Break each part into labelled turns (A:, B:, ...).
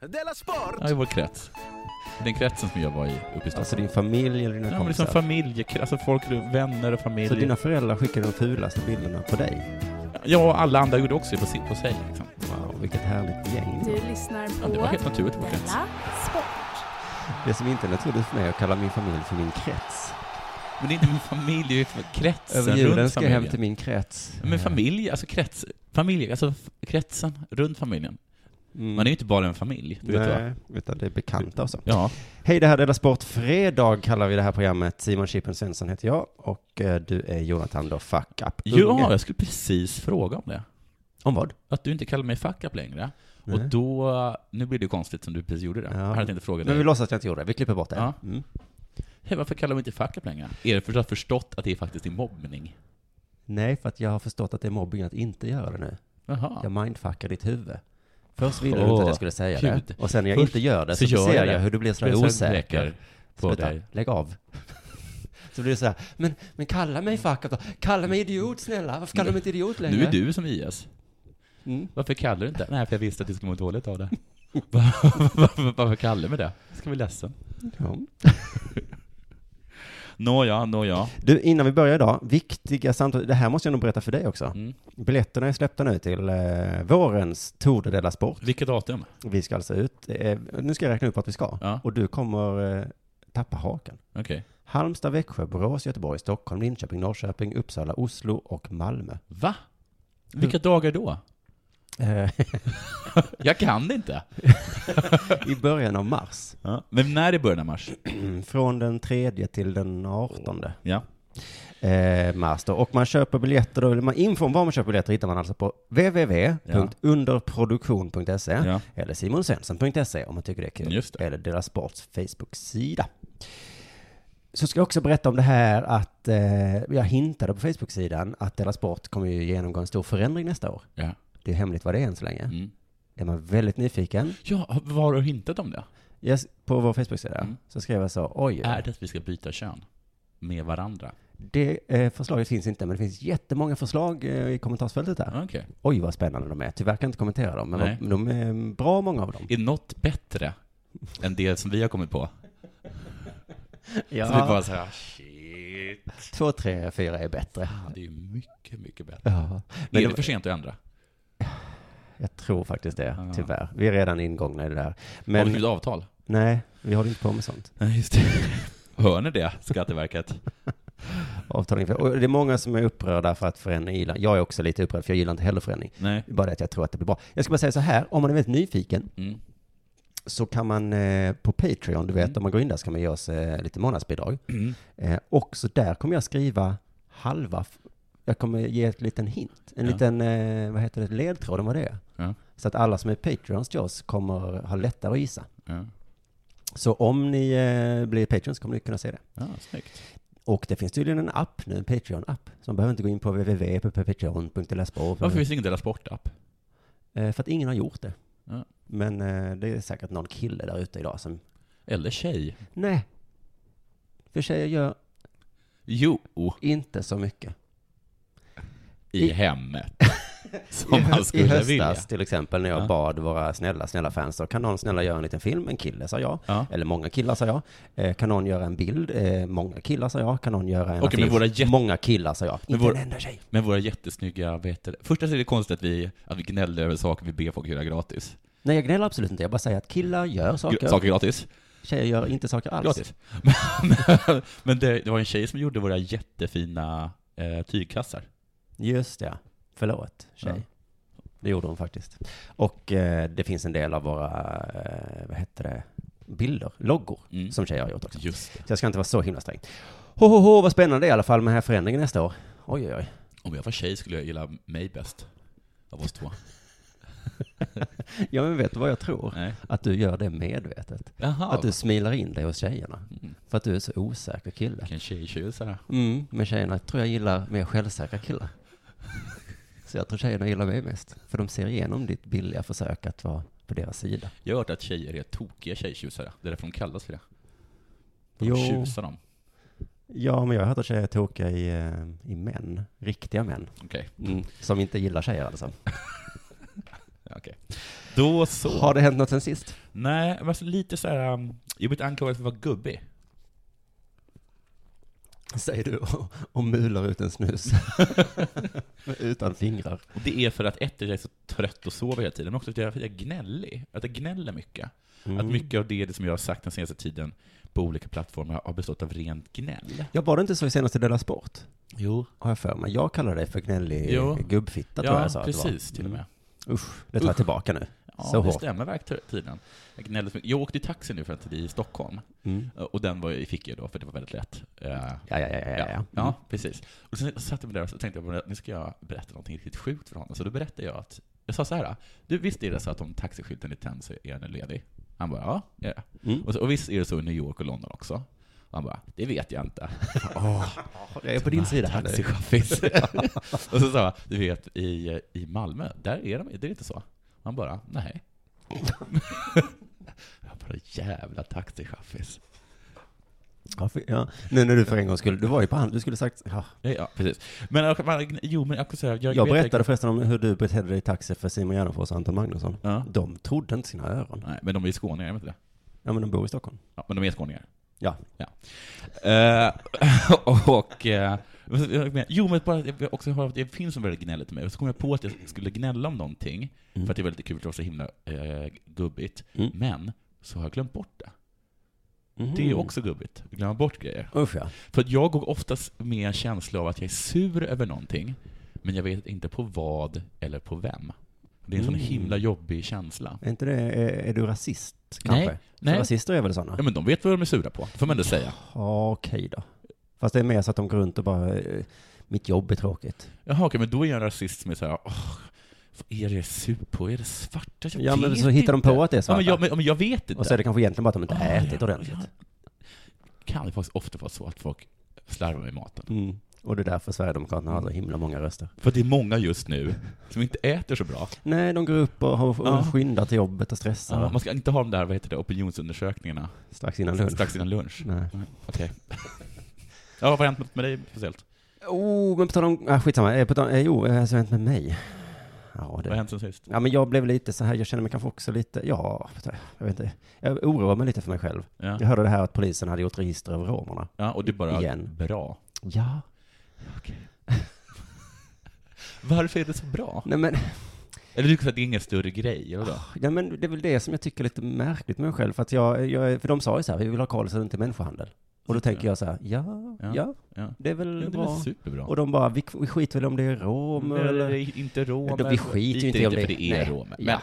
A: Della Sport!
B: Ja, i vår krets. Den kretsen som jag var i uppe i Stockholm.
C: Alltså din familj eller dina
B: ja, men
C: kompisar?
B: liksom familje, alltså folk, vänner och familj.
C: så dina föräldrar skickade de fulaste bilderna på dig?
B: Ja, och alla andra gjorde också det på, sitt, på sig. Liksom.
C: Wow, vilket härligt
D: Du
C: gäng.
D: lyssnar
B: Ja, det var
D: på
B: helt naturligt i vår krets.
D: Della Sport.
C: Det som inte är naturligt för mig är att kalla min familj för min krets.
B: Men det är inte min familj, det är för
C: Över
B: kretsen
C: julen
B: runt
C: ska jag hem
B: familjen.
C: till min krets.
B: Men familj, alltså krets, familj, alltså f- kretsen runt familjen.
C: Mm.
B: Man är ju inte bara en familj, du vet vad?
C: Nej, utan det är bekanta och så.
B: Ja,
C: Hej, det här är Della Sport. Fredag kallar vi det här programmet. Simon Chippen Svensson heter jag och eh, du är Jonathan då Fuck Up
B: ja,
C: Unge.
B: jag skulle precis fråga om det.
C: Om vad?
B: Att du inte kallar mig fuck up längre.
C: Nej.
B: Och då, nu blir det ju konstigt som du precis gjorde det.
C: Ja.
B: Jag hade inte frågat
C: Men vi
B: dig.
C: låtsas att jag inte gjorde det. Vi klipper bort det.
B: Ja.
C: Mm.
B: Hej, varför kallar vi inte fuck up längre? Är det för att du har förstått att det är faktiskt är mobbning?
C: Nej, för att jag har förstått att det är mobbing att inte göra det nu.
B: Jaha.
C: Jag mindfuckar ditt huvud. Först ville du
B: Åh,
C: inte att jag skulle säga
B: gud.
C: det. Och sen när jag
B: Först
C: inte gör det så,
B: så gör
C: ser
B: jag
C: jag,
B: det.
C: hur du blir
B: Jag är
C: sådär
B: så
C: osäker.
B: säker på
C: Sluta,
B: dig.
C: lägg av. så blir det såhär, men, men kalla mig fuck up då. Kalla mig idiot snälla. Varför kallar du mig inte idiot längre?
B: Nu är du som IS.
C: Mm.
B: Varför kallar du inte? Nej, för jag visste att du skulle må dåligt av det. Varför- varför- Varför kallar du mig det? Jag ska bli ledsen.
C: Ja.
B: Nåja, nåja.
C: Du, innan vi börjar idag, viktiga samtal. Det här måste jag nog berätta för dig också.
B: Mm.
C: Biljetterna är släppta nu till eh, vårens Tour de Della Sport.
B: Vilket datum?
C: Vi ska alltså ut. Eh, nu ska jag räkna upp att vi ska.
B: Ja.
C: Och du kommer eh, tappa hakan.
B: Okej.
C: Halmstad, Växjö, Borås, Göteborg, Stockholm, Linköping, Norrköping, Uppsala, Oslo och Malmö.
B: Va? Vilka dagar då?
C: Eh,
B: Mm. Jag kan det inte.
C: I början av mars.
B: Men när är början av mars?
C: Från den 3 till den 18
B: Ja.
C: eh, mars då. Och man köper biljetter, då, eller man, info om var man köper biljetter hittar man alltså på www.underproduktion.se
B: Ja.
C: eller simonsvensson.se om man tycker det är kul.
B: Just det.
C: Eller deras sports Facebook-sida. Så ska jag också berätta om det här att eh, jag hintade på Facebook-sidan att Della Sport kommer ju genomgå en stor förändring nästa år.
B: Ja.
C: Det är hemligt vad det är än så länge.
B: Mm.
C: Är man väldigt nyfiken,
B: ja, var har du hintat om det?
C: jag, s- på vår Facebook-sida,
B: Mm. Äh.
C: så skrev jag så, oj,
B: Är det att vi ska byta kön? Med varandra?
C: det eh, förslaget finns inte, men det finns jättemånga förslag eh, i kommentarsfältet där.
B: Okej.
C: Oj, vad spännande de är. Tyvärr kan jag inte kommentera dem, men
B: Mm. Nej.
C: de, de är bra många av dem.
B: Är något bättre än det som vi har kommit på? Så vi bara så här, "Ah, shit.
C: Två, tre, fyra är bättre.
B: Fan, det är ju mycket, mycket bättre.
C: Ja.
B: Men är
C: Men
B: det
C: det-
B: för sent att ändra?
C: Jag tror faktiskt det,
B: Ja.
C: tyvärr. Vi är redan ingångna i det där.
B: Har vi
C: Men
B: skrivit avtal?
C: nej, vi håller inte på med sånt.
B: Nej, just det. Hör ni det, Skatteverket?
C: Avtalen, och det är många som är upprörda för att förändring gillar. Jag är också lite upprörd, för jag gillar inte heller förändring.
B: Nej.
C: Det är Bara det att jag tror att det blir bra. Jag ska bara säga så här, om man är väldigt nyfiken
B: Mm.
C: så kan man eh, på Patreon, du vet, om man går in där så kan man ge oss eh, lite månadsbidrag.
B: Mm.
C: Eh, också där kommer jag skriva halva, f- jag kommer ge ett liten hint, en
B: Ja.
C: liten, eh, vad heter det, ledtråd om vad det är.
B: Ja.
C: Så att alla som är Patreons till oss kommer ha lättare att gissa.
B: Ja.
C: Så om ni eh, blir Patreons kommer ni kunna se det.
B: ja, snyggt.
C: Och det finns tydligen en app nu, en Patreon-app. Så man behöver inte gå in på www.patreon.lesbo.
B: Varför finns det ingen Dela Sport-app?
C: Eh, för att ingen har gjort det.
B: Ja.
C: Men eh, det är säkert någon kille där ute idag som,
B: Eller tjej?
C: nej. För tjejer gör
B: Jo,
C: inte så mycket.
B: i
C: I-
B: hemmet. Som man
C: I
B: skulle
C: höstas
B: vilja.
C: till exempel när jag
B: Ja.
C: bad våra snälla, snälla fans då, kan någon snälla göra en liten film? En kille sa jag.
B: Ja.
C: Eller många killar sa jag. Eh, kan någon göra en bild? Eh, många killar sa jag. Kan någon göra en
B: Okej, men
C: affisch?
B: våra jätte-
C: Många killar sa jag.
B: Men
C: Inte
B: vår-
C: en enda tjej.
B: Men våra jättesnygga, vet du, första så är det konstigt att vi, att vi gnäller över saker vi ber folk göra gratis.
C: Nej, jag gnäller absolut inte. Jag bara säger att killar gör saker.
B: Gr- Saker gratis.
C: Tjejer gör inte saker alls.
B: Gratis. Men, men det, det var en tjej som gjorde våra jättefina eh, tygkassar.
C: Just det. Förlåt, tjej.
B: Ja.
C: Det gjorde hon faktiskt. Och eh, det finns en del av våra, eh, vad heter det, bilder, loggor,
B: Mm.
C: som tjejer har gjort också.
B: Just det.
C: Så jag ska inte vara så himla sträng. Ho, ho, ho, vad spännande i alla fall med den här förändringen nästa år. Oj, oj, oj.
B: Om jag var tjej skulle jag gilla mig bäst. Av oss två.
C: Ja, men vet du vad jag tror?
B: Nej.
C: Att du gör det medvetet.
B: Jaha.
C: Att du smilar in dig hos tjejerna.
B: Mm.
C: För att du är så osäker kille.
B: Vilken tjejtjusare.
C: Mm, men tjejerna tror jag gillar mer självsäkra killar. Så jag tror tjejerna gillar mig mest. För de ser igenom ditt billiga försök att vara på deras sida.
B: Jag har hört att tjejer är tokiga tjejtjusare. Det är därför de kallas för det. De
C: Jo.
B: tjusar dem.
C: Ja, men jag har hört att tjejer är tokiga i, eh, i män. Riktiga män.
B: Okej.
C: Som inte gillar tjejer alltså.
B: Ja, okej. Då så.
C: Har det hänt något sen sist?
B: Nej, men alltså lite så här. um, Jag blev anklagad för att vara gubbig.
C: Säger du och, och mular ut en snus. Utan fingrar.
B: Och det är för att ett, jag är så trött och sover hela tiden, men också att jag, jag är gnällig. Att jag gnäller mycket.
C: Mm.
B: Att mycket av det som jag har sagt den senaste tiden på olika plattformar har bestått av rent gnäll.
C: Jag var det inte så i senaste Della Sport?
B: Jo.
C: Har jag för mig. Jag kallar dig för gnällig
B: Jo.
C: gubbfitta tror jag jag
B: Ja,
C: sa att det var. Mm.
B: precis, till och med.
C: Usch, det tar jag tillbaka nu.
B: Ja,
C: Så
B: det
C: hårt.
B: stämmer verkligen tydligen. Jag, gnällde så mycket. jag åkte i taxi nu för att i Stockholm, eh,
C: Mm.
B: och den var, jag fick jag då för det var väldigt lätt. Eh,
C: Ja, ja, ja, ja, Mm. ja.
B: Ja, ja, precis. Och sen satt jag mig där och så tänkte jag på det, nu ska jag berätta någonting riktigt sjukt för honom. Så då berättade jag att, jag sa så här, du visst är det så att om taxiskylten i Thamse är nu ledig? Han bara, ja, ja.
C: Mm.
B: Och, så, och visst är det så i New York och London också? Och han bara, det vet jag inte.
C: Åh, jag är på din sida här nu.
B: Taxichaffis. och så sa jag, du vet i, i Malmö, där är de, det är inte så. Och han bara, nej. jag bara, jävla taxichaffis.
C: Ja, för, ja. Nu när du för en gång skulle, du var ju på hand, du skulle sagt, ja.
B: Ja, Ja, precis. Men, jag- man- jo, men jag kan säga, jag,
C: Jag
B: vet-
C: berättade förresten om hur du betedde dig i taxi för Simon Gärdenfors och Anton Magnusson.
B: Ja.
C: De trodde inte sina öron.
B: Nej, men de är ju skåningar, är de inte det?
C: Ja, men de bor i Stockholm.
B: Ja, men de är skåningar.
C: Ja.
B: Eh, och... eh, vad ska jag med? jo, men bara att jag också har, det finns en väldigt gnällig till mig, och så kom jag på att jag skulle gnälla om någonting, för att det var lite kul, för det var så himla eh, gubbigt.
C: Mm.
B: Men, så har jag glömt bort det.
C: Mhm.
B: Det är också gubbigt, att glömma bort grejer.
C: Usch ja.
B: För att jag går oftast med en känsla av att jag är sur över någonting, men jag vet inte på vad eller på vem. Det är en sån
C: Mm.
B: himla jobbig känsla.
C: Är inte det, är, är du rasist kanske?
B: Nej, nej.
C: För rasister är väl sådana?
B: Ja, men de vet vad de är sura på, får man ändå säga.
C: Ja, okej då. Fast det är mer så att de går runt och bara, eh, mitt jobb är tråkigt.
B: Jaha, okej, men då är jag en rasist som är såhär, åh, vad är det jag är sur på? Är det svarta? Jag
C: ja, men
B: vet
C: så hittar de på
B: inte."
C: att det är
B: Ja,
C: svarta.
B: men jag, men, men jag vet inte.
C: Och så är det kanske egentligen bara att de inte
B: Ah,
C: ätit
B: ja,
C: ordentligt.
B: Kan det faktiskt ofta vara så att folk slarvar med maten?
C: Mm. Och det är därför Sverigedemokraterna har så
B: Mm.
C: himla många röster.
B: För det är många just nu som inte äter så bra.
C: Nej, de går upp och, har, och
B: Ja.
C: skyndar till jobbet och stressar
B: Ja, man ska inte ha de där, vad heter det, opinionsundersökningarna
C: strax innan lunch.
B: strax innan lunch.
C: Nej.
B: Okej. ja, vad har hänt något med dig speciellt?
C: Oh, men på tal om, ah, skitsamma, eh, på tal, eh, jo, eh, så har hänt med mig. Ja,
B: Vad har
C: det,
B: hänt sen sist?
C: ja, men jag blev lite så här, jag känner mig kanske också lite, ja, jag vet inte, jag oroar mig lite för mig själv.
B: Ja,
C: Jag hörde det här att polisen hade gjort register över romerna.
B: ja och du bara,
C: Igen.
B: bra.
C: Ja.
B: Varför är det så bra?
C: Nej men,
B: Eller du kan säga att det är ingen större grej, eller då?
C: ja, men det är väl det som jag tycker är lite märkligt med mig själv. För, att jag, jag, är- för de sa ju så här, vi vill ha Karlsson inte människohandel. Och då tänker jag så här, ja, ja,
B: Ja, ja.
C: det är väl
B: Ja, det
C: bra.
B: är väl superbra. Mm,
C: Och de bara, vi, vi skiter väl om det är romer eller...
B: Eller inte romer.
C: De- vi skiter ju inte i om
B: för
C: det-
B: det är
C: nej.
B: romer. Men,
C: Ja.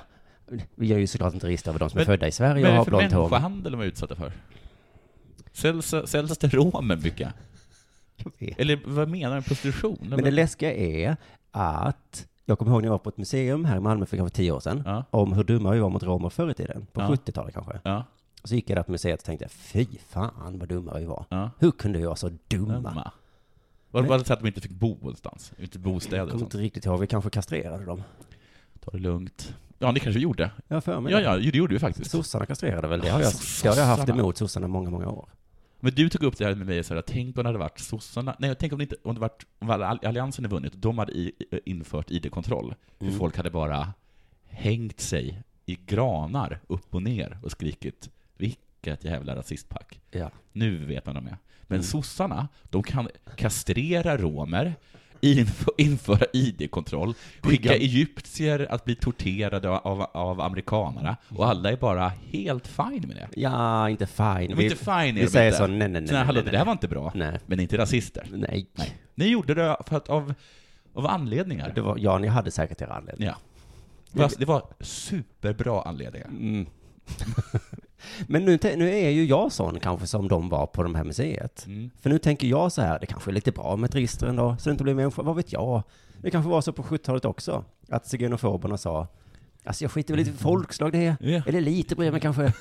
C: Vi gör ju såklart inte register över de som är
B: Men-
C: födda i Sverige
B: men vad
C: och
B: är
C: har
B: det för
C: blont hår.
B: människohandel de är utsatta för? Säljs, säljs det romer mycket? Eller vad menar du? Prostitution?
C: Men det läskiga är att, jag kommer ihåg när jag var på ett museum här i Malmö för kanske tio år sedan,
B: Ja.
C: om hur dumma vi var mot romer förr i tiden, på
B: Ja.
C: 70-talet kanske.
B: Ja,
C: Och så gick jag där på museet och tänkte, fy fan vad dumma vi var.
B: ja.
C: Hur kunde vi vara så dumma?
B: Dumma. Var det bara så att de inte fick bo någonstans? Inte bostäder
C: Jag
B: och
C: kommer
B: sånt?
C: inte riktigt ihåg, vi kanske kastrerade dem.
B: Ta det lugnt. Ja, det kanske vi gjorde.
C: Jag har för mig
B: Ja,
C: det.
B: ja, det gjorde vi faktiskt.
C: Sossarna kastrerade väl, det har jag,
B: Sossarna.
C: det har jag haft emot sossarna i många, många år.
B: Men du tog upp det här med mig och sa tänk om det hade varit sossarna, nej tänk om det inte, om det varit, om alla- alliansen hade vunnit, de hade i, eh, infört ID-kontroll. Hur
C: Mm.
B: folk hade bara hängt sig i granar upp och ner och skrikit vilket jävla rasistpack.
C: Ja.
B: Nu vet man de är. Men
C: Mm.
B: sossarna, de kan kastrera romer, inf- införa ID-kontroll, skicka egyptier att bli torterade av, av amerikanarna, och alla är bara helt fine med det.
C: Ja, inte fine.
B: De är inte fine är
C: vi
B: de
C: säger
B: inte.
C: så, nej, nej, nej.
B: Så här,
C: nej,
B: hallå,
C: nej, Mm.
B: det här var inte bra.
C: nej.
B: Men inte rasister.
C: Nej. nej.
B: Ni gjorde det för att av, av anledningar.
C: Det var, ja, ni hade säkert era anledningar.
B: Ja. Fast det var superbra anledningar.
C: Mm. Men nu, tän- nu är ju jag sån kanske som de var på de här museet.
B: Mm.
C: För nu tänker jag så här, det kanske är lite bra med ett register ändå, så det inte blir människa, vad vet jag? Det kanske var så på 70-talet också, att zigenofoberna sa, alltså jag skiter väl lite i folkslag det är,
B: Ja.
C: eller lite bryr jag mig kanske,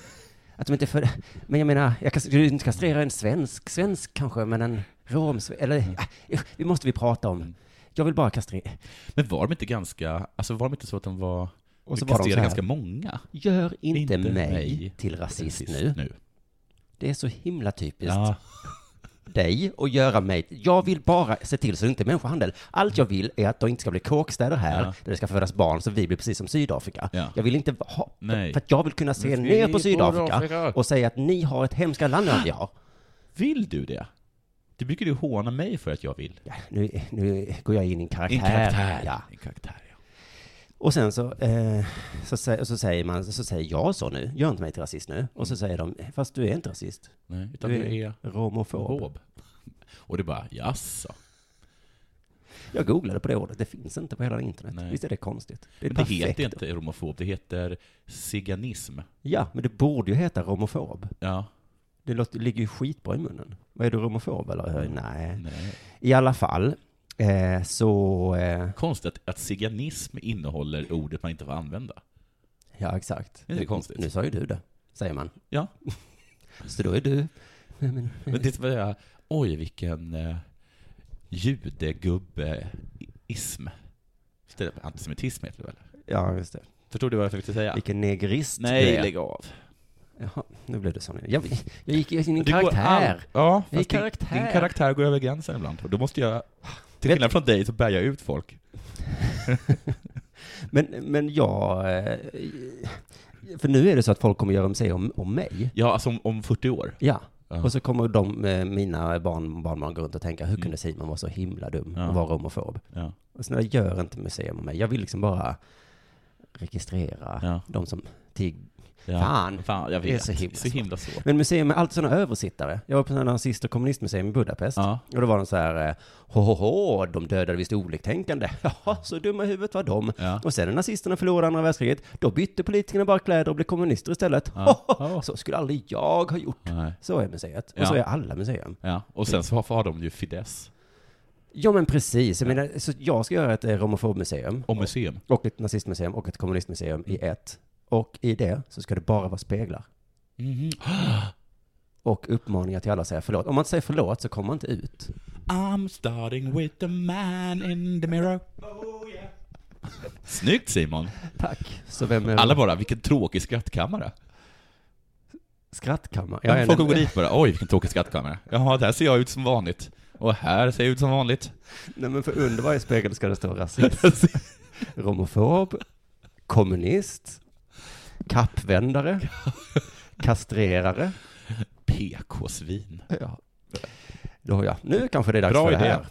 C: att de inte är för, men jag menar, jag kan du inte kastrera en svensk, svensk kanske, men en romsvensk, eller, äh, usch, det måste vi prata om. Jag vill bara kastrera,
B: Men var de inte ganska, alltså var de inte så att de var,
C: Och så
B: de
C: var de
B: kastrerade
C: så här.
B: ganska många?
C: gör inte,
B: Inte
C: mig
B: mig
C: till rasist nu. Det är så himla typiskt.
B: Ja.
C: dig och göra mig. Jag vill bara se till så det inte är människohandel. Allt jag vill är att de inte ska bli kåkstäder här,
B: Ja.
C: där det ska födas barn, så vi blir precis som Sydafrika.
B: Ja.
C: Jag vill inte ha,
B: Nej.
C: för att jag vill kunna se
B: Men
C: ner
B: vi
C: på
B: är
C: Sydafrika
B: Sydafrika.
C: och säga att ni har ett hemskare land än vad vi har.
B: Vill du det? Du brukar ju håna mig för att jag vill.
C: Ja, nu, nu går jag in i en karaktär.
B: En karaktär.
C: Ja.
B: En karaktär, ja.
C: Och sen så, eh, så, sä- så säger man, så säger jag så nu, gör inte mig till rasist nu.
B: Mm.
C: Och så säger de, fast du är inte rasist.
B: Nej, utan
C: Du
B: du
C: är
B: är
C: romofob.
B: hob. Och du bara, jaså?
C: Jag googlade på det ordet, det finns inte på hela internet.
B: Nej.
C: Visst är det konstigt? Det är
B: Men det
C: perfekt.
B: heter inte romofob, det heter ziganism.
C: Ja, men det borde ju heta romofob.
B: Ja,
C: Det låter, det ligger ju skitbra i munnen. Vad är du romofob eller?
B: Mm.
C: Nej.
B: nej.
C: I alla fall, eh, så, eh,
B: Konstigt att, att ziganism innehåller ordet man inte får använda.
C: ja exakt.
B: Det är konstigt.
C: Nu sa ju du det, säger man.
B: Ja.
C: Så då är du, men, men,
B: Men det var jag, oj vilken eh, judegubbeism. Istället för Antisemitism heter det väl?
C: ja just det.
B: Förstod du vad jag försökte säga?
C: Vilken negrist du
B: Nej,
C: är.
B: lägg av.
C: Jaha, nu blev det så nu. Jag, jag gick in i en
B: Du går
C: karaktär.
B: all- Ja,
C: Det är
B: fast din-
C: karaktär.
B: Din karaktär går över gränsen ibland. Och då måste jag, till
C: Vet-
B: skillnad från dig, så bär jag ut folk.
C: Men, men jag... eh, För nu är det så att folk kommer göra sig om, om mig.
B: Ja, alltså om, om 40 år.
C: Ja.
B: Ja.
C: Och så kommer de, eh, mina barn, barnbarn gå runt och tänka, hur
B: Mm.
C: kunde Simon vara så himla dum
B: Ja.
C: och vara homofob?
B: Ja.
C: Och sen jag gör inte museum om mig. Jag vill liksom bara registrera
B: Ja.
C: de som tig.
B: Ja.
C: Fan.
B: Fan, jag
C: Det är
B: vet.
C: så himla
B: så himla så.
C: Men museum med allt sådana översittare. Jag var på sådana nazist och kommunistmuseum i Budapest.
B: Ja.
C: Och då var de så här, eh, ho, ho, ho de dödade visst oliktänkande. Jaha, så dumma i huvudet var de.
B: Ja.
C: Och sen när nazisterna förlorade andra världskriget, då bytte politikerna bara kläder och blev kommunister istället.
B: Ja.
C: Ho, ho, Så skulle aldrig jag ha gjort.
B: Nej.
C: Så är museet. Och
B: Ja.
C: så är alla museum.
B: Ja. Och sen så har, har de ju Fidesz
C: Ja men precis, jag menar, så jag ska göra ett eh, romofobmuseum,
B: och museum.
C: och ett nazistmuseum och ett kommunistmuseum i
B: Mm.
C: ett. Och i det så ska det bara vara speglar.
B: Mhm.
C: Och uppmaningar till alla att säga förlåt. Om man inte säger förlåt så kommer man inte ut.
B: I'm starting with the man in the mirror. Oh, yeah. Snyggt Simon!
C: Tack. Så vem är
B: Mm. Alla bara, vilken tråkig skrattkammare.
C: Skrattkammare.
B: Ja,
C: är
B: Mm, Folk
C: en-
B: går dit bara, oj vilken tråkig skrattkammare. Jaha, där ser jag ut som vanligt. Och här ser jag ut som vanligt.
C: Nej men för under varje spegel ska det stå rasist, romofob, kommunist, kappvändare, kastrerare.
B: PK-svin.
C: Ja. Då, ja. Nu kanske det är dags
B: Bra
C: för det
B: idé.
C: här.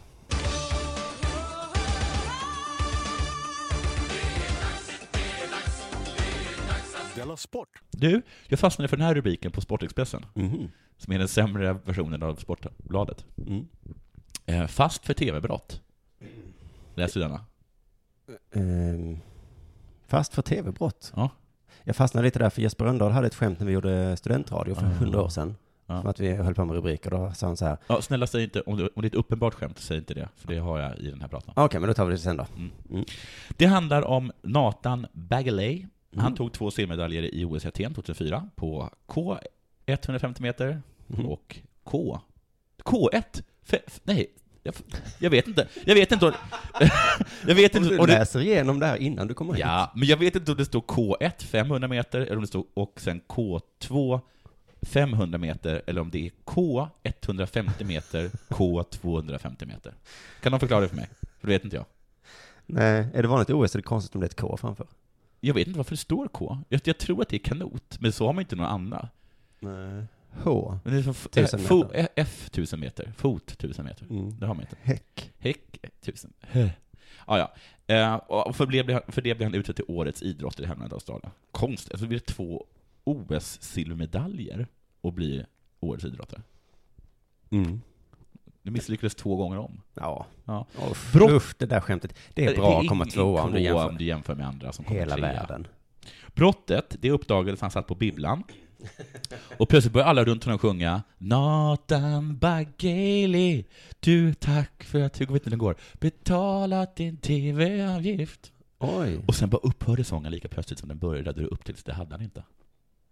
A: Della Sport.
B: Du, jag fastnade för den här rubriken på Sportexpressen,
C: Mhm.
B: som är den sämre versionen av Sportbladet.
C: Mm.
B: Eh, Fast för TV-brott. Läser du denna?
C: Ehm, fast för tv-brott.
B: Ja.
C: Jag fastnade lite där för Jesper Rönndahl hade ett skämt när vi gjorde studentradio för
B: Ah.
C: hundra år sedan.
B: Ja.
C: Som att vi höll på med rubriker. Då sa han så här,
B: ja snälla, säg inte, om, du, om det är ett uppenbart skämt, säg inte det, för det har jag i den här pratan.
C: "Ah, okej men då tar vi det sen då.
B: Det handlar om Nathan Bagley. Han
C: Mm.
B: tog två silvermedaljer i OS i Aten 2004 på K150 meter
C: Mhm.
B: och K... K1? Fe, f- nej, jag, f- jag vet inte. Jag vet inte. om- jag vet
C: Om
B: inte.
C: du
B: om det,
C: läser igenom det här innan du kommer hit.
B: ja, men jag vet inte om det står K1 500 meter eller om det står och sen K2 500 meter eller om det är K 150 meter, K 250 meter. Kan någon förklara det för mig? För det vet inte jag.
C: Nej, är det vanligt i OS är det konstigt om det är ett K framför.
B: Jag vet inte varför det står K. Jag, jag tror att det är kanot, men så har man inte någon annan.
C: Nej. H.
B: Men det är som f-
C: Tusen
B: eh, fo-
C: meter.
B: eh, F 1000 meter, fot 1000 meter.
C: Mm.
B: Det har man inte.
C: Häck.
B: Häck 1000. Hö. Ah, ja. eh, och för, det blev, för det blev han utsedd till årets idrottare i hemlandet Australien. Konstigt, alltså det blir två OS-silvermedaljer och blir årets idrottare.
C: Mm.
B: Det misslyckades två gånger om.
C: Ja.
B: Ja.
C: Uff,
B: Brott.
C: usch, det där skämtet. Det är bra att komma
B: ingen
C: tvåa om du
B: tvåa
C: jämför
B: om du jämför med andra som kommer
C: hela
B: trea.
C: världen.
B: Brottet, det uppdagades när han satt på bibblan. Och plötsligt började alla runt honom sjunga Nathan Bageli, du tack för att du vet inte hur den går, betalat din TV-avgift.
C: Oj.
B: Och sen bara upphörde sången lika plötsligt som den började, och upp tills det hade han inte.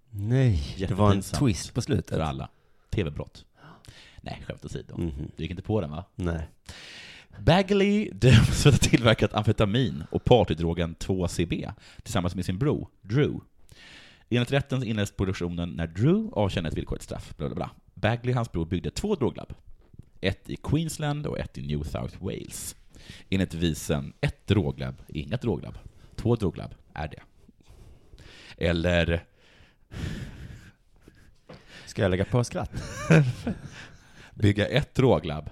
C: Nej, det var en
B: Jättepinsamt.
C: twist på slutet.
B: För alla. TV-brott. Nej, skämt åsido.
C: Mhm.
B: Du gick inte på den va?
C: Nej.
B: Bagley döms för att ha tillverkat amfetamin och partydrogen 2CB tillsammans med sin bror, Drew. Enligt rätten inleddes produktionen när Drew avtjänade ett villkorligt straff. Bla bla bla. Bagley och hans bror byggde två droglabb. ett i Queensland och ett i New South Wales. Enligt devisen ett droglab är inget droglab, två droglab är det. Eller
C: Ska jag lägga på skratt?
B: bygga ett droglab,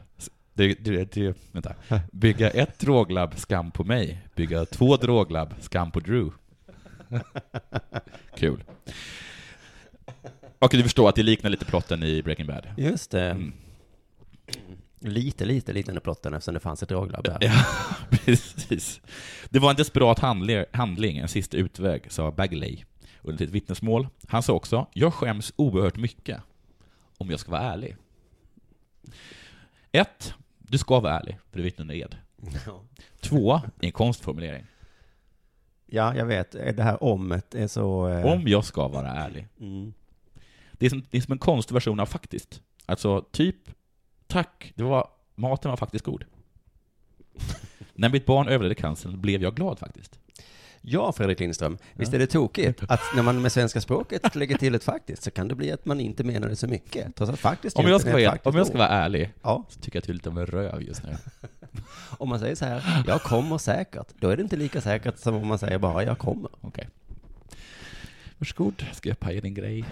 B: det, det, det, vänta. bygga ett droglab, skam på mig, bygga två droglab, skam på Drew. Kul. Och du förstår att det liknar lite plotten i Breaking Bad.
C: Just det.
B: Mm.
C: Lite, lite, lite under plotten eftersom det fanns ett droglab där.
B: Ja, precis. Det var en desperat handle- handling, en sista utväg, sa Bagley under sitt vittnesmål. Han sa också, jag skäms oerhört mycket, om jag ska vara ärlig. Ett, Du ska vara ärlig, för du vittnar under ed. Två, En konstformulering.
C: Ja, jag vet. Det här omet är så... eh,
B: Om jag ska vara ärlig.
C: Mm.
B: Det är som, det är som en konstig version av faktiskt. Alltså, typ, tack, det var, maten var faktiskt god. När mitt barn överlevde cancern blev jag glad faktiskt.
C: Ja, Fredrik Lindström. Visst är det tokigt att när man med svenska språket lägger till ett faktiskt så kan det bli att man inte menar det så mycket. Trots att faktiskt
B: Om
C: ju
B: jag
C: inte
B: ska
C: är ett
B: vara,
C: faktiskt
B: om jag ska
C: ord.
B: vara ärlig,
C: Ja,
B: så tycker jag att du är lite av en röv just nu.
C: om man säger så här, jag kommer säkert, då är det inte lika säkert som om man säger bara jag kommer.
B: Okej. Varsågod, ska jag paja din grej?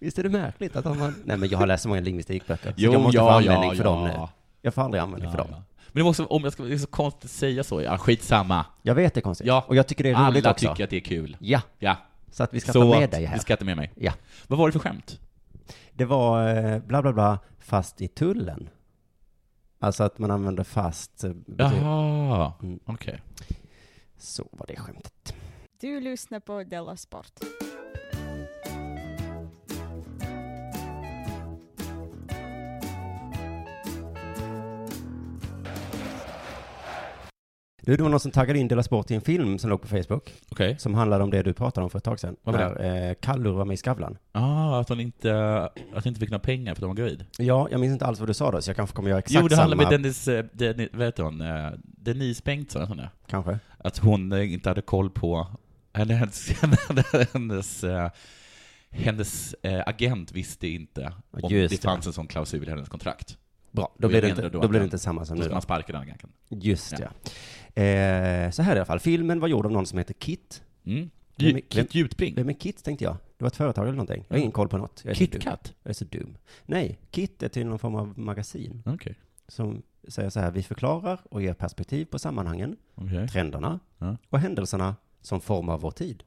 C: Visst är det märkligt att om man... Nej, men jag har läst så många lingvistikböcker, så jag måste få användning för dem nu. Jag får aldrig användning
B: Ja,
C: för dem.
B: ja. Men det var också, om jag ska, det är så konstigt att säga så, ja skitsamma.
C: Jag vet det är konstigt.
B: Ja,
C: Och jag tycker det är roligt
B: Alla
C: också.
B: tycker att det är kul.
C: Ja,
B: Ja.
C: så att vi ska
B: så
C: ta med
B: att-
C: dig här.
B: Du ska ta med mig.
C: Ja.
B: Vad var det för skämt?
C: Det var eh, bla bla bla, fast i tullen. Alltså att man använder fast. eh, bety-
B: Jaha,
C: Mm.
B: okej.
C: Så var det skämtet.
D: Du lyssnar på Della Sport.
C: Du, det var någon som taggade in Dela Sport i en film som låg på Facebook.
B: Okej.
C: Som handlade om det du pratade om för ett tag sedan.
B: Vad var det?
C: När eh, Kallur var med i Skavlan.
B: Ah, att hon inte, att hon inte fick några pengar för att hon var gravid.
C: Ja, jag minns inte alls vad du sa då, så jag kanske kommer göra exakt
B: jo, det
C: samma.
B: handlar med Dennis, eh, Dennis, vad heter hon, eh, Denise Bengtsson, heter hon det?
C: Kanske.
B: att hon eh, inte hade koll på, eller hennes, hennes, eh, hennes eh, agent visste inte om
C: Just
B: det
C: det.
B: fanns en sån klausul i hennes kontrakt.
C: Bra, då
B: jag
C: blir det,
B: menar
C: inte,
B: då
C: då
B: att
C: blir det
B: den-
C: inte samma som
B: Då
C: nu
B: ska
C: då.
B: man sparka den agenten.
C: Just det, ja. Eh, så här i alla fall, filmen var gjord av någon som heter Kit.
B: Mm.
C: Vem är-
B: Ju- Kit Jutbring.
C: Vem är Kit tänkte jag? Det var ett företag eller någonting. Jag har
B: Mm.
C: ingen koll på något. Jag är så dum.
B: KitKat?
C: Jag är så dum. Nej, Kit är till någon form av magasin
B: Okej.
C: som säger så här, vi förklarar och ger perspektiv på sammanhangen,
B: Okej.
C: trenderna
B: Mm. Ja.
C: och händelserna som formar vår tid.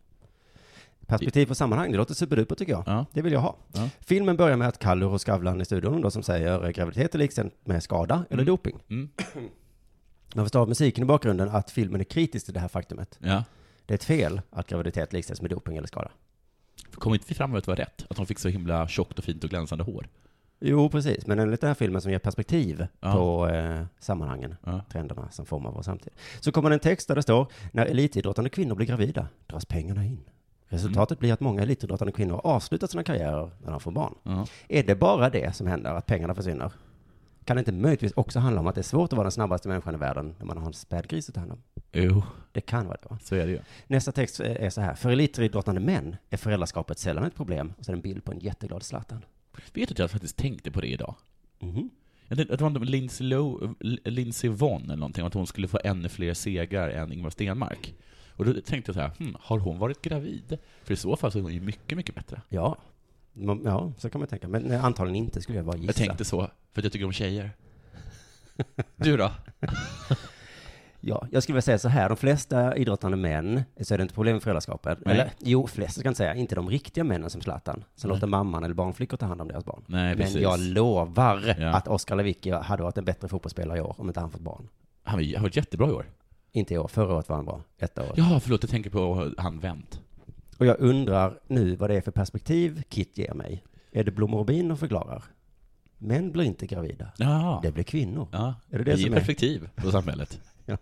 C: Perspektiv på sammanhang, det låter superduper tycker jag.
B: Ja.
C: Det vill jag ha.
B: Ja.
C: Filmen börjar med att Kallur och Skavlan i studion då som säger eh, graviditet är likställt med skada eller doping.
B: Mm.
C: Man förstår av musiken i bakgrunden att filmen är kritisk till det här faktumet.
B: Ja.
C: Det är ett fel att graviditet likställs med doping eller skada.
B: Kom inte vi fram med att det var rätt? Att hon fick så himla tjockt och fint och glänsande hår?
C: Jo, precis. Men enligt den här filmen som ger perspektiv
B: Ja.
C: på eh, sammanhangen,
B: Ja.
C: trenderna som formar vår samtid. Så kommer det en text där det står, när elitidrottande kvinnor blir gravida dras pengarna in. Resultatet
B: Mm.
C: blir att många elitidrottande kvinnor har avslutat sina karriärer när de får barn.
B: Ja.
C: Är det bara det som händer, att pengarna försvinner? Kan det inte möjligtvis också handla om att det är svårt att vara den snabbaste människan i världen när man har en spädgris att ta hand om?
B: Jo,
C: Det kan vara det, va?
B: så är det ju.
C: Nästa text eh, är så här. För elitidrottande män är föräldraskapet sällan ett problem. Och sen en bild på en jätteglad Zlatan.
B: Vet du att jag faktiskt tänkte på det idag?
C: Mhm.
B: Jag tänkte- jag tror att det var Lindsay, Low, Lindsay Vonn eller någonting, att hon skulle få ännu fler segrar än Ingvar Stenmark. Och då tänkte jag så här, hmm, har hon varit gravid? För i så fall så är hon ju mycket, mycket bättre.
C: Ja. Man- Ja, så kan man tänka. Men nej, antagligen inte skulle jag bara gissa.
B: Jag tänkte så, för att jag tycker om tjejer. Du då?
C: Ja, jag skulle vilja säga så här. De flesta idrottande män så är det inte problem med föräldraskapet.
B: Nej.
C: Eller, jo, flesta ska jag inte säga. Inte de riktiga männen som Zlatan. Som låter mamman eller barnflickor ta hand om deras barn.
B: Nej,
C: Men
B: precis.
C: jag lovar
B: Ja.
C: att Oskar Lewicki hade varit en bättre fotbollsspelare i år om inte han fått barn.
B: Han har ju- har varit jättebra i år.
C: Inte i år, förra året var han bra. Ett år.
B: Ja, förlåt, jag tänker på han Wendt.
C: Och jag undrar nu vad det är för perspektiv Kit ger mig. Är det blommor och bin de förklarar? Män blir inte gravida.
B: Ja.
C: Det blir kvinnor.
B: Ja,
C: Är det det
B: det ger
C: som är-
B: perspektiv på samhället.
C: Ja.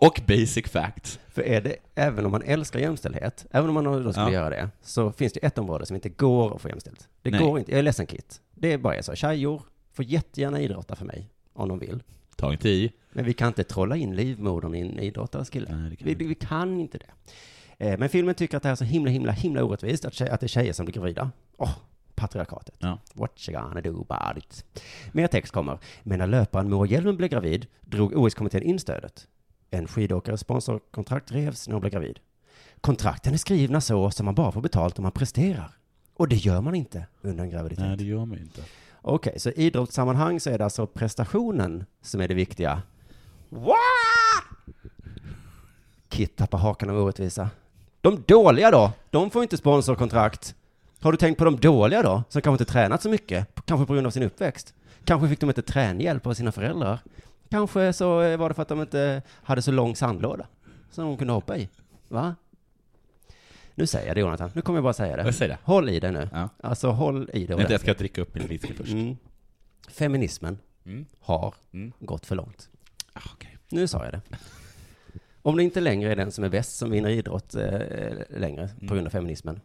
B: Och basic facts.
C: För är det, även om man älskar jämställdhet, även om man då skulle
B: Ja.
C: göra det, så finns det ett område som inte går att få jämställt. Det
B: Nej.
C: går inte. Jag är ledsen Kit. Det är bara så. Tjejor får jättegärna idrotta för mig, om de vill.
B: Ta inte i.
C: Men vi kan inte trolla in livmodern i en idrottares kille.
B: Nej, det kan vi inte.
C: vi, vi kan inte det. Eh, Men filmen tycker att det här är så himla, himla, himla orättvist, att, tje- att det är tjejer som blir gravida. Åh, patriarkatet.
B: Ja.
C: What you gonna do about it? Mer text kommer. Men när löparen Moa Hjelm blev gravid drog OS-kommittén in stödet. En skidåkares sponsorkontrakt revs när hon blev gravid. Kontrakten är skrivna så som man bara får betalt om man presterar. Och det gör man inte under en graviditet.
B: Nej, det gör man ju inte.
C: Okej, så i idrottssammanhang så är det alltså prestationen som är det viktiga. What? Kit tappar hakan av orättvisa. De dåliga då? De får inte sponsorkontrakt. Har du tänkt på de dåliga då? Som kanske inte tränat så mycket? Kanske på grund av sin uppväxt? Kanske fick de inte tränhjälp av sina föräldrar? Kanske så eh, var det för att de inte hade så lång sandlåda som de kunde hoppa i? Va? Nu säger jag det Jonathan, nu kommer jag bara säga det.
B: Jag säger det.
C: Håll i det nu.
B: Ja.
C: Alltså håll i det
B: Vänta, jag ska dricka upp min whisky först.
C: Mm. Feminismen
B: Mm.
C: har
B: Mm.
C: gått för långt.
B: Ah, okej.
C: Nu sa jag det. Om det inte längre är den som är bäst som vinner idrott eh, längre
B: Mm.
C: på grund av feminismen,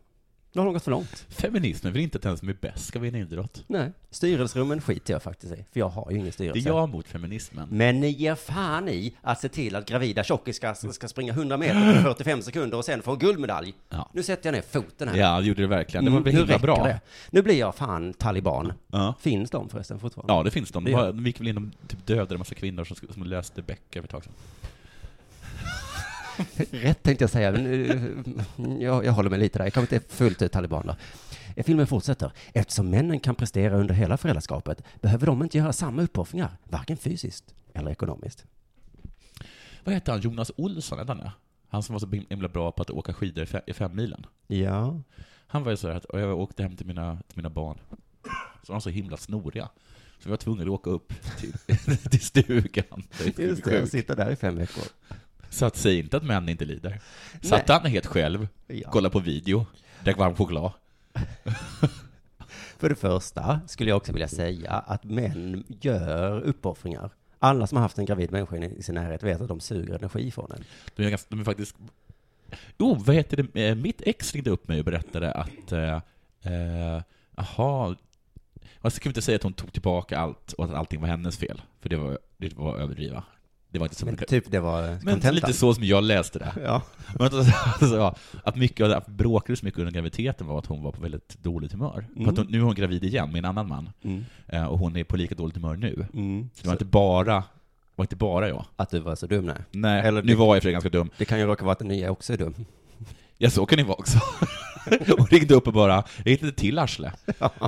C: då har de gått för långt.
B: Feminismen vill inte att den som är bäst ska vinna idrott.
C: Nej, styrelserummen skiter jag faktiskt i, för jag har ju ingen
B: Det är
C: styrelse.
B: jag mot feminismen.
C: Men ni ger fan i att se till att gravida tjockiskar ska, ska springa 100 meter på 45 sekunder och sen få en guldmedalj.
B: Ja.
C: Nu sätter jag ner foten här.
B: Ja, det gjorde det verkligen. Det var
C: Mm,
B: väl
C: nu
B: himla
C: räcker
B: bra.
C: det. Nu blir jag fan taliban.
B: Ja.
C: Finns de förresten fortfarande?
B: ja, det finns de. De,
C: Det gör
B: har, de gick väl in och typ dödade en massa kvinnor som, sk- som löste böcker för ett tag sedan.
C: Rätt tänkte jag säga, men eh, jag, jag håller mig lite där. Jag kommer inte fullt ut talibaner. Filmen fortsätter. Eftersom männen kan prestera under hela föräldraskapet behöver de inte göra samma uppoffringar, varken fysiskt eller ekonomiskt.
B: Vad heter han? Jonas Olsson, hette han det? Han som var så himla bra på att åka skidor i fe- i fem milen.
C: Ja.
B: Han var ju så här att och jag åkte hem till mina, till mina barn, så var de så himla snoriga. Så vi var tvungna att åka upp till, till stugan. Det är
C: Just det,
B: sjukt.
C: sitta där i fem veckor.
B: Så att säg inte att män inte lider. Satt han helt själv,
C: Ja.
B: kollade på video, drack varm choklad.
C: För det första skulle jag också vilja säga att män gör uppoffringar. Alla som har haft en gravid människa i sin närhet vet att de suger energi från en.
B: De är, ganska, de är faktiskt... Jo, vad heter det? Eh, Mitt ex ringde upp mig och berättade att... eh, eh, Jaha... Man ska inte säga att hon tog tillbaka allt och att allting var hennes fel, för det var, det var att överdriva. Det var inte så
C: Men
B: mycket.
C: typ det var eh,
B: Men
C: kontentan.
B: lite så som jag läste det.
C: Ja.
B: Men att, alltså, ja, att mycket av det, att vi bråkade så mycket under graviditeten var att hon var på väldigt dåligt humör. För att hon, nu är hon gravid igen med en annan man,
C: Mm.
B: eh, och hon är på lika dåligt humör nu.
C: Mm.
B: Så det var inte bara, var inte bara jag.
C: Att du var så dum, nej.
B: Nej,
C: Eller
B: nu var jag i och för sig ganska dum.
C: Det kan ju råka vara att den nya också är dum.
B: Ja, så kan det vara också. och ringde upp och bara, jag hittade till arsle.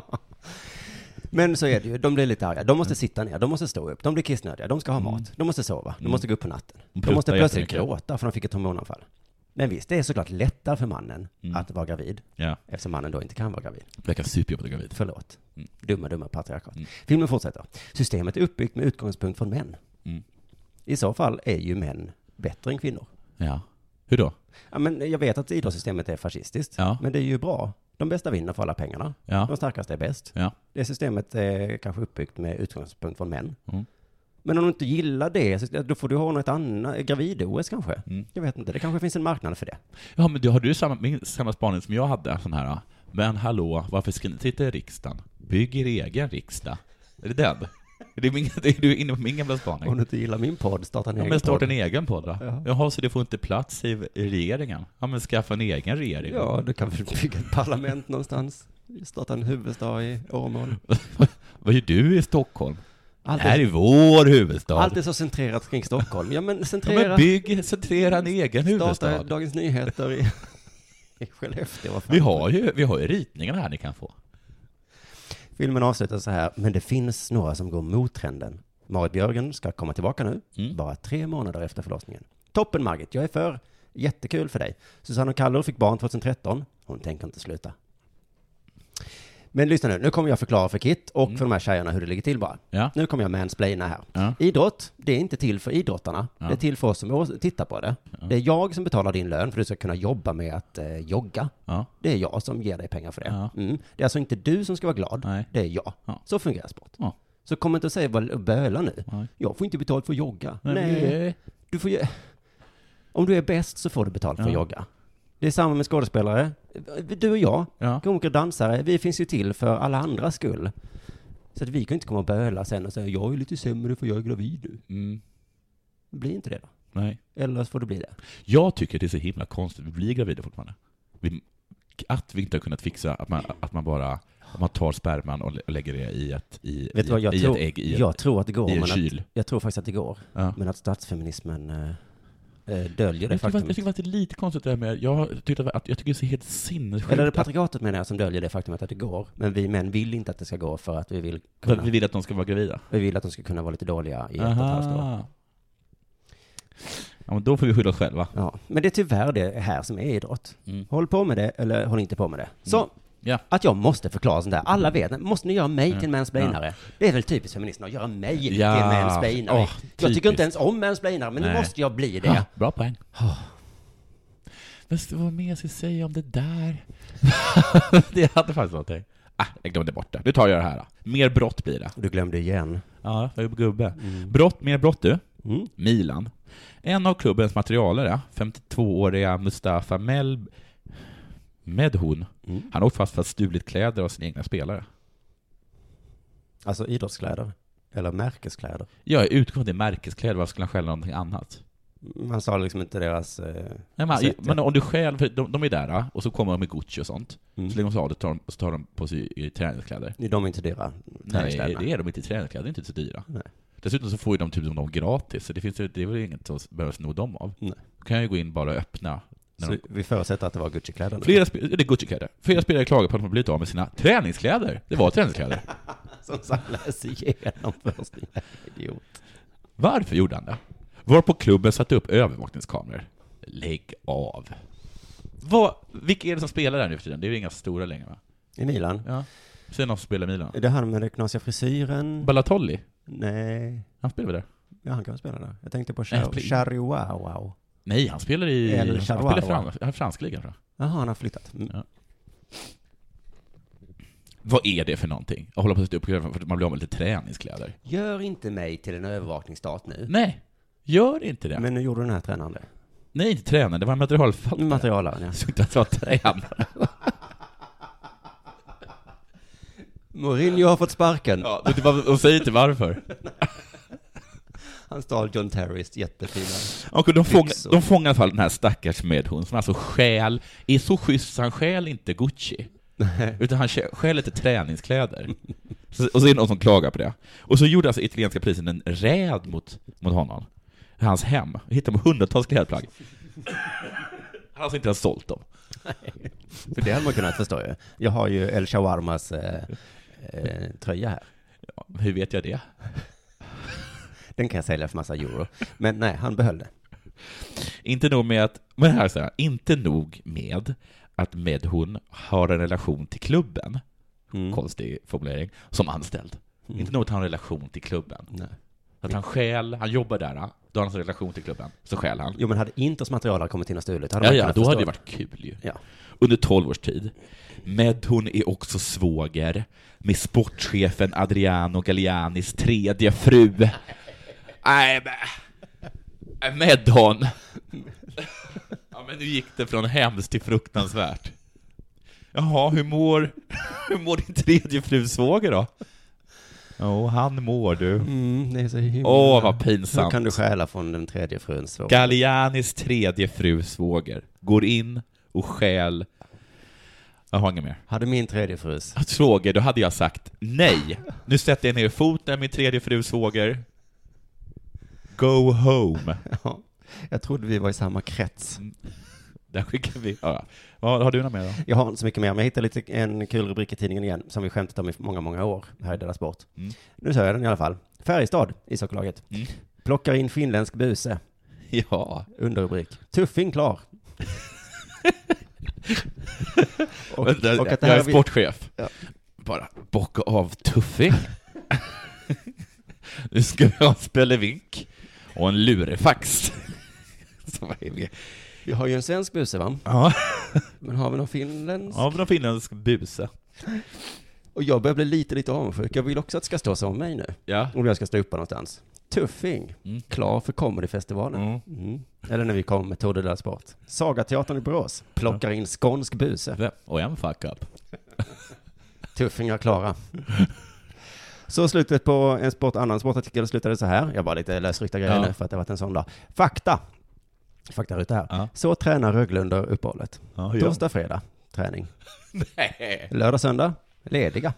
C: Men så är det ju, de blir lite arga. De
B: Mm.
C: måste sitta ner, de måste stå upp, de blir kissnödiga, de ska ha mat, de måste sova, de måste gå upp på natten. De
B: pruttar
C: måste plötsligt
B: jättemycket.
C: gråta för de fick ett hormonanfall. Men visst, det är såklart lättare för mannen
B: Mm.
C: att vara gravid,
B: Ja,
C: eftersom mannen då inte kan vara gravid.
B: verkar superjobbigt att vara gravid.
C: Förlåt.
B: Mm.
C: Dumma, dumma patriarkat.
B: Mm.
C: Filmen fortsätter. Systemet är uppbyggt med utgångspunkt från män.
B: Mm.
C: I så fall är ju män bättre än kvinnor.
B: Ja. Hur då?
C: Ja, men jag vet att idrottssystemet är fascistiskt,
B: Ja.
C: men det är ju bra. De bästa vinner för alla pengarna. De
B: Ja.
C: starkaste är bäst.
B: Ja.
C: Det systemet är kanske uppbyggt med utgångspunkt från män.
B: Mm.
C: Men om du inte gillar det, så- då får du ha något annat, gravid-OS kanske?
B: Mm.
C: Jag vet inte, det kanske finns en marknad för det.
B: ja, men du, har du samma, min- samma spaning som jag hade? Sån här, ah, men hallå, varför ska ni sitta i riksdagen? Bygg er egen riksdag. Är det den? Är du, min, är du inne på min gamla spaning?
C: Om du inte gillar min podd, starta en
B: Ja,
C: egen
B: men starta en
C: podd.
B: egen podd då.
C: Ja.
B: Jaha. så det får inte plats i i regeringen? Ja, men skaffa en egen regering.
C: Ja, du kan väl bygga ett parlament någonstans. Starta en huvudstad i Åmål.
B: Vad gör du i Stockholm?
C: Allt
B: Det här
C: är,
B: är vår huvudstad.
C: allt är så centrerat kring Stockholm. Ja, men
B: ja, men
C: centrera,
B: bygg, centrera en egen
C: starta
B: huvudstad.
C: Dagens Nyheter i, i Skellefteå. vad fan.
B: Vi har ju, vi har ju ritningarna här ni kan få.
C: Filmen avslutas så här, men det finns några som går mot trenden. Marit Björgen ska komma tillbaka nu,
B: Mm.
C: bara tre månader efter förlossningen. Toppen Margit, jag är för. Jättekul för dig. Susanne Kallur fick barn 2013. Hon tänker inte sluta. Men lyssna nu, nu kommer jag förklara för Kit och för de här tjejerna hur det ligger till bara.
B: Ja.
C: Nu kommer jag mansplaina här.
B: Mm. Ja.
C: Idrott, det är inte till för idrottarna. Det är till för oss som å- tittar på det. Det är jag som betalar din lön för att du ska kunna jobba med att eh, jogga.
B: Ja.
C: Det är jag som ger dig pengar för det.
B: Ja.
C: Mm. Det är alltså inte du som ska vara glad,
B: Nej.
C: det är jag.
B: Ja.
C: Så fungerar sport.
B: Ja.
C: Så kom inte och säg vad och böla nu.
B: Nej.
C: Jag får inte betalt för att jogga.
B: Men
C: Nej.
B: det-
C: Du får ju... Om du är bäst så får du betalt för att
B: Ja.
C: jogga. Det är samma med skådespelare. Du och jag,
B: Ja.
C: komiker och dansare, vi finns ju till för alla andras skull. Så att vi kan ju inte komma och böla sen och säga jag är lite sämre för jag är gravid nu.
B: Mm.
C: Bli inte det då.
B: Nej.
C: Eller så får du bli det.
B: Jag tycker det är så himla konstigt, vi blir gravida fortfarande. Vi att vi inte har kunnat fixa att man, att man bara att man tar sperman och lä- och lägger det i ett, i,
C: Vet du vad,
B: i,
C: jag
B: i
C: tror,
B: ett ägg, i,
C: jag tror att det går,
B: ett, i
C: men
B: en
C: att,
B: kyl.
C: jag tror faktiskt att det går.
B: Ja.
C: Men att statsfeminismen eh, eh, döljer det
B: Jag tycker, fakt- jag
C: faktumet.
B: tycker faktiskt det är lite konstigt det här med, jag tycker att, jag tycker det är helt sinnessjukt
C: Eller är det
B: att,
C: patriarkatet menar jag som döljer det faktumet att det går. Men vi män vill inte att det ska gå för att vi vill,
B: för
C: kunna,
B: att vi vill att de ska vara gravida.
C: vi vill att de ska kunna vara lite dåliga i ett och ett halvt år.
B: Ja, men då får vi skylla oss själva.
C: Ja, men det är tyvärr det här som är idrott.
B: Mm.
C: Håll på med det eller håll inte på med det. Så,
B: Ja. Mm.
C: att jag måste förklara sånt där. Alla vet, måste ni göra mig till en mansplainare? Det är väl typiskt feministerna att göra mig
B: Ja.
C: till en mansplainare.
B: Åh,
C: jag tycker
B: typiskt.
C: inte ens om mansplainare, men nu
B: Nej.
C: måste jag bli det.
B: Ha, bra poäng. Men s- vad mer ska jag säga om det där? det hade faktiskt någonting. Ah, jag glömde bort det. Nu tar jag det här då. Mer brott blir det.
C: Du glömde igen.
B: Ja, jag är gubbe. Brott, mer brott du.
C: Mm.
B: Milan. En av klubbens materialare, 52-åriga Mustafa Mel... Medhun.
C: Mm.
B: Han åkte fast för att ha stulit kläder av sina egna spelare.
C: Alltså idrottskläder. Eller märkeskläder.
B: Jag utgår från att det är märkeskläder, varför skulle han stjäla någonting annat?
C: Man sa liksom inte deras... Eh,
B: Nej, men,
C: sätt,
B: men om du själv, för de, de är där ah, och så kommer de med Gucci och sånt.
C: Mm.
B: Så lägger de sig av det tar de, så tar de på sig i träningskläder.
C: ja. De är inte dyra.
B: Nej,
C: träningskläderna.
B: det är de inte i träningskläder, det är inte så dyra.
C: Nej.
B: Dessutom så får ju de typ som de gratis, så det, finns, ju- det är väl inget som behöver sno dem av.
C: Nej.
B: Då kan jag ju gå in bara och öppna. När
C: Så
B: de,
C: vi förutsätter att det var Gucci-kläderna.
B: flera, spe- det är Gucci-kläder. Flera spelare klagar på att de har blivit av med sina träningskläder. Det var träningskläder.
C: Som så läser igenom först. Idiot.
B: Varför gjorde han det? Varpå klubben satte upp övervakningskameror. Lägg av. Vad, vilka är det som spelar där nu för tiden? Det är ju inga stora längre va?
C: I Milan.
B: Ja. Sen någon som spelar i Milan.
C: Är Det här med den knasiga frisyren.
B: Balatolli,
C: Nej.
B: han spelar väl där?
C: Ja, han kan väl spela där. Jag tänkte på
B: Nej, spela-
C: Chariwawa.
B: Nej, han spelar i...
C: Eller
B: han
C: Charleroi,
B: spelar i
C: va?
B: frans, han är fransk ligan tror jag.
C: Jaha, han har flyttat. Mm.
B: Ja. Vad är det för någonting? Att hålla på att sätta upp kläder för att man blir av med lite träningskläder.
C: Gör inte mig till en övervakningsstat nu.
B: Nej, gör inte det.
C: Men nu gjorde den här tränaren det.
B: Nej, inte tränaren, det var en materialförvaltare.
C: Materialaren, ja.
B: Jag såg inte att det var tränaren.
C: Mourinho har fått sparken.
B: Ja, det var- De säger inte varför.
C: Han stal John Terrorist jättefina.
B: Och de, fång,
C: Fixor.
B: de fångar i alla fall den här stackars medhund som alltså stjäl, är så schysst så han stjäl inte Gucci. Utan han stjäl stjäl lite träningskläder. Så, och så är det någon som klagar på det. Och så gjorde alltså italienska polisen en räd mot, mot honom. I Hans hem. Hittade de hundratals klädplagg. Han har alltså inte ens sålt dem.
C: För det hade man kunnat förstå ju. Jag har ju El Shawarmas eh, eh, tröja här.
B: Ja, hur vet jag det?
C: Den kan jag sälja för massa euro. Men nej, han behöll det.
B: Inte nog med att, men här säger jag, inte nog med att Medhun har en relation till klubben,
C: Mm.
B: konstig formulering, som anställd. Inte nog med att han har en relation till klubben.
C: Nej.
B: Att han stjäl, han jobbar där, då har han alltså en relation till klubben, så stjäl han.
C: Jo, men hade Inters material kommit in och stulit hade
B: Ja,
C: man
B: ja,
C: kunnat
B: då
C: förstå
B: hade det varit kul ju.
C: Ja.
B: Under 12 års tid. Medhun är också svåger med sportchefen Adriano Gallianis tredje fru. Nej, men... Medhon. Ja, men nu gick det från hemskt till fruktansvärt. Jaha, hur mår, hur mår din tredje fru svåger då? Jo, han mår du.
C: Mm, det är så himla...
B: Åh, vad
C: Hur
B: pinsamt.
C: kan du stjäla från den tredje fruns svår?
B: Gallianis tredje fru svåger går in och stjäl... Jag har inget mer.
C: Hade min tredje frus.
B: Svåger, då hade jag sagt nej. Nu sätter jag ner foten, min tredje fru svåger. Go home.
C: Ja. Jag trodde vi var i samma krets.
B: Där skickar vi... Ja. Vad har du något mer då?
C: Jag har inte så mycket mer, men jag hittade lite, en kul rubrik i tidningen igen, som vi skämtat om i många, många år här i Della Sport.
B: Mm.
C: Nu sa jag den i alla fall. Färjestad, ishockeylaget,
B: Mm.
C: plockar in finländsk buse.
B: Ja.
C: Underrubrik. Tuffing klar. och,
B: Vänta,
C: och att det
B: jag
C: här
B: är
C: vi-
B: sportchef.
C: Ja.
B: Bara bocka av tuffing. nu ska vi ha en spelevink och en lurefax. Så vad är det?
C: Vi har ju en svensk buse, va?
B: Ja.
C: Men har vi någon finländsk?
B: Av någon finländsk buse.
C: Och jag börjar bli lite, lite avundsjuk. Jag vill också att det ska stå som mig nu.
B: Ja.
C: Om jag ska stå uppe någonstans. Tuffing.
B: Mm.
C: Klar för comedyfestivalen.
B: Mm.
C: Mm. Eller när vi kom med Tour de la Sport. Sagateatern i Borås plockar in skånsk buse.
B: Och en fuck up.
C: Tuffingar klara. Så slutet på en sport, annan sportartikel slutade så här. Jag bara lite lösryckta grejer
B: Ja.
C: nu för att det har varit en sån dag. Fakta. Faktaruta här.
B: Ja.
C: Så tränar Rögle under uppehållet.
B: Ja,
C: Torsdag, fredag. träning.
B: Nej.
C: Lördag, söndag, lediga.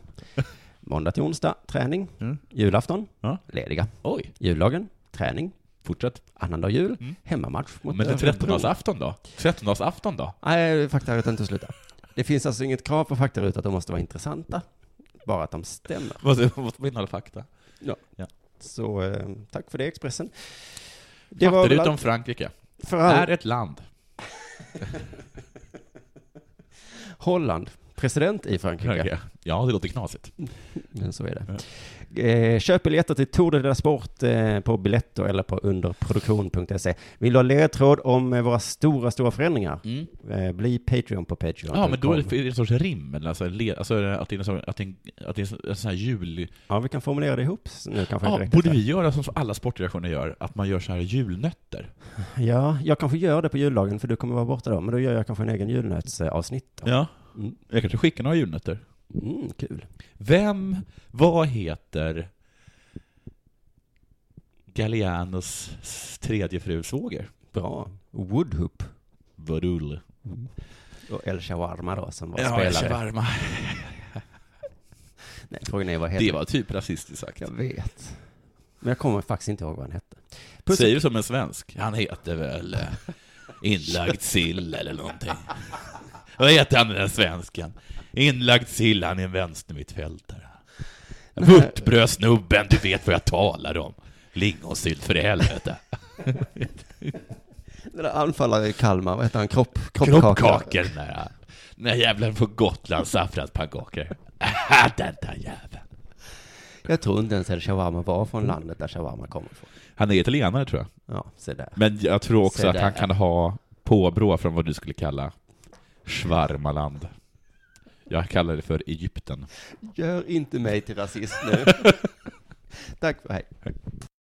C: Måndag till onsdag, träning.
B: Mm.
C: Julafton,
B: Ja.
C: lediga.
B: Oj,
C: Juldagen, träning.
B: fortsätt.
C: Annandag jul,
B: Mm.
C: hemmamatch. Mot
B: Men det är
C: Örebro.
B: 13-dagsafton då? 13-dagsafton då?
C: Nej, faktarutan inte sluta. Det finns alltså inget krav på faktarutor att de måste vara intressanta. Bara att de stämmer.
B: Måste måste innehålla fakta.
C: Så eh, tack för det Expressen. Det var
B: Fattar
C: väl
B: du
C: allt
B: om Frankrike?
C: för
B: Är
C: all...
B: ett land.
C: Holland, president i Frankrike.
B: Frankrike. Ja, det låter knasigt.
C: Men så är det. Eh, köp biljetter till Tour de la Sport eh, på Biletto eller på underproduktion.se. Vill du ha ledtråd om eh, våra stora, stora förändringar?
B: Mm.
C: Eh, bli Patreon på Patreon.
B: Ja, men då är det är det en sorts rim, eller alltså, le, alltså att det är en sån, att det är en, att det är en sån- en sån här jul...
C: Ja, vi kan formulera det ihop så nu kanske.
B: Ja,
C: inte riktigt
B: borde
C: här.
B: vi göra som alla sportreaktioner gör, att man gör så här julnötter?
C: Ja, jag kanske gör det på juldagen för du kommer vara borta då. Men då gör jag kanske en egen julnötsavsnitt. då.
B: Ja.
C: Mm.
B: Jag kanske skickar några julnötter.
C: Mm, kul.
B: Vem, vad heter Gallianos tredje fru svåger?
C: Bra. Woodhoop
B: Vadul.
C: och El Shawarma då som var
B: Ja,
C: spelare.
B: varma.
C: Nej, frågan är vad heter
B: Det var typ rasistiskt sagt.
C: Jag vet. Men jag kommer faktiskt inte ihåg vad han hette. Puss.
B: Säger du som en svensk? Han heter väl eh, inlagd sill eller någonting. Vad heter han den där svensken? Inlagd sill, han är en vänstermittfältare. Vörtbrödsnubben, du vet vad jag talar om. Lingonsylt för i helvete.
C: Den där anfallaren i Kalmar, vad heter han? Kropp, kroppkaka.
B: Kroppkakor den där. Den där jävlen på Gotland, saffranspannkakor. Ah, den där jäveln.
C: Jag tror inte ens El Shawarma var från landet där shawarma kommer ifrån.
B: Han är italienare tror jag.
C: Ja, se där.
B: Men jag tror också
C: Se
B: att
C: där.
B: han kan ha påbrå från vad du skulle kalla Schwarmaland. Jag kallar det för Egypten.
C: Gör inte mig till rasist nu. Tack för hej.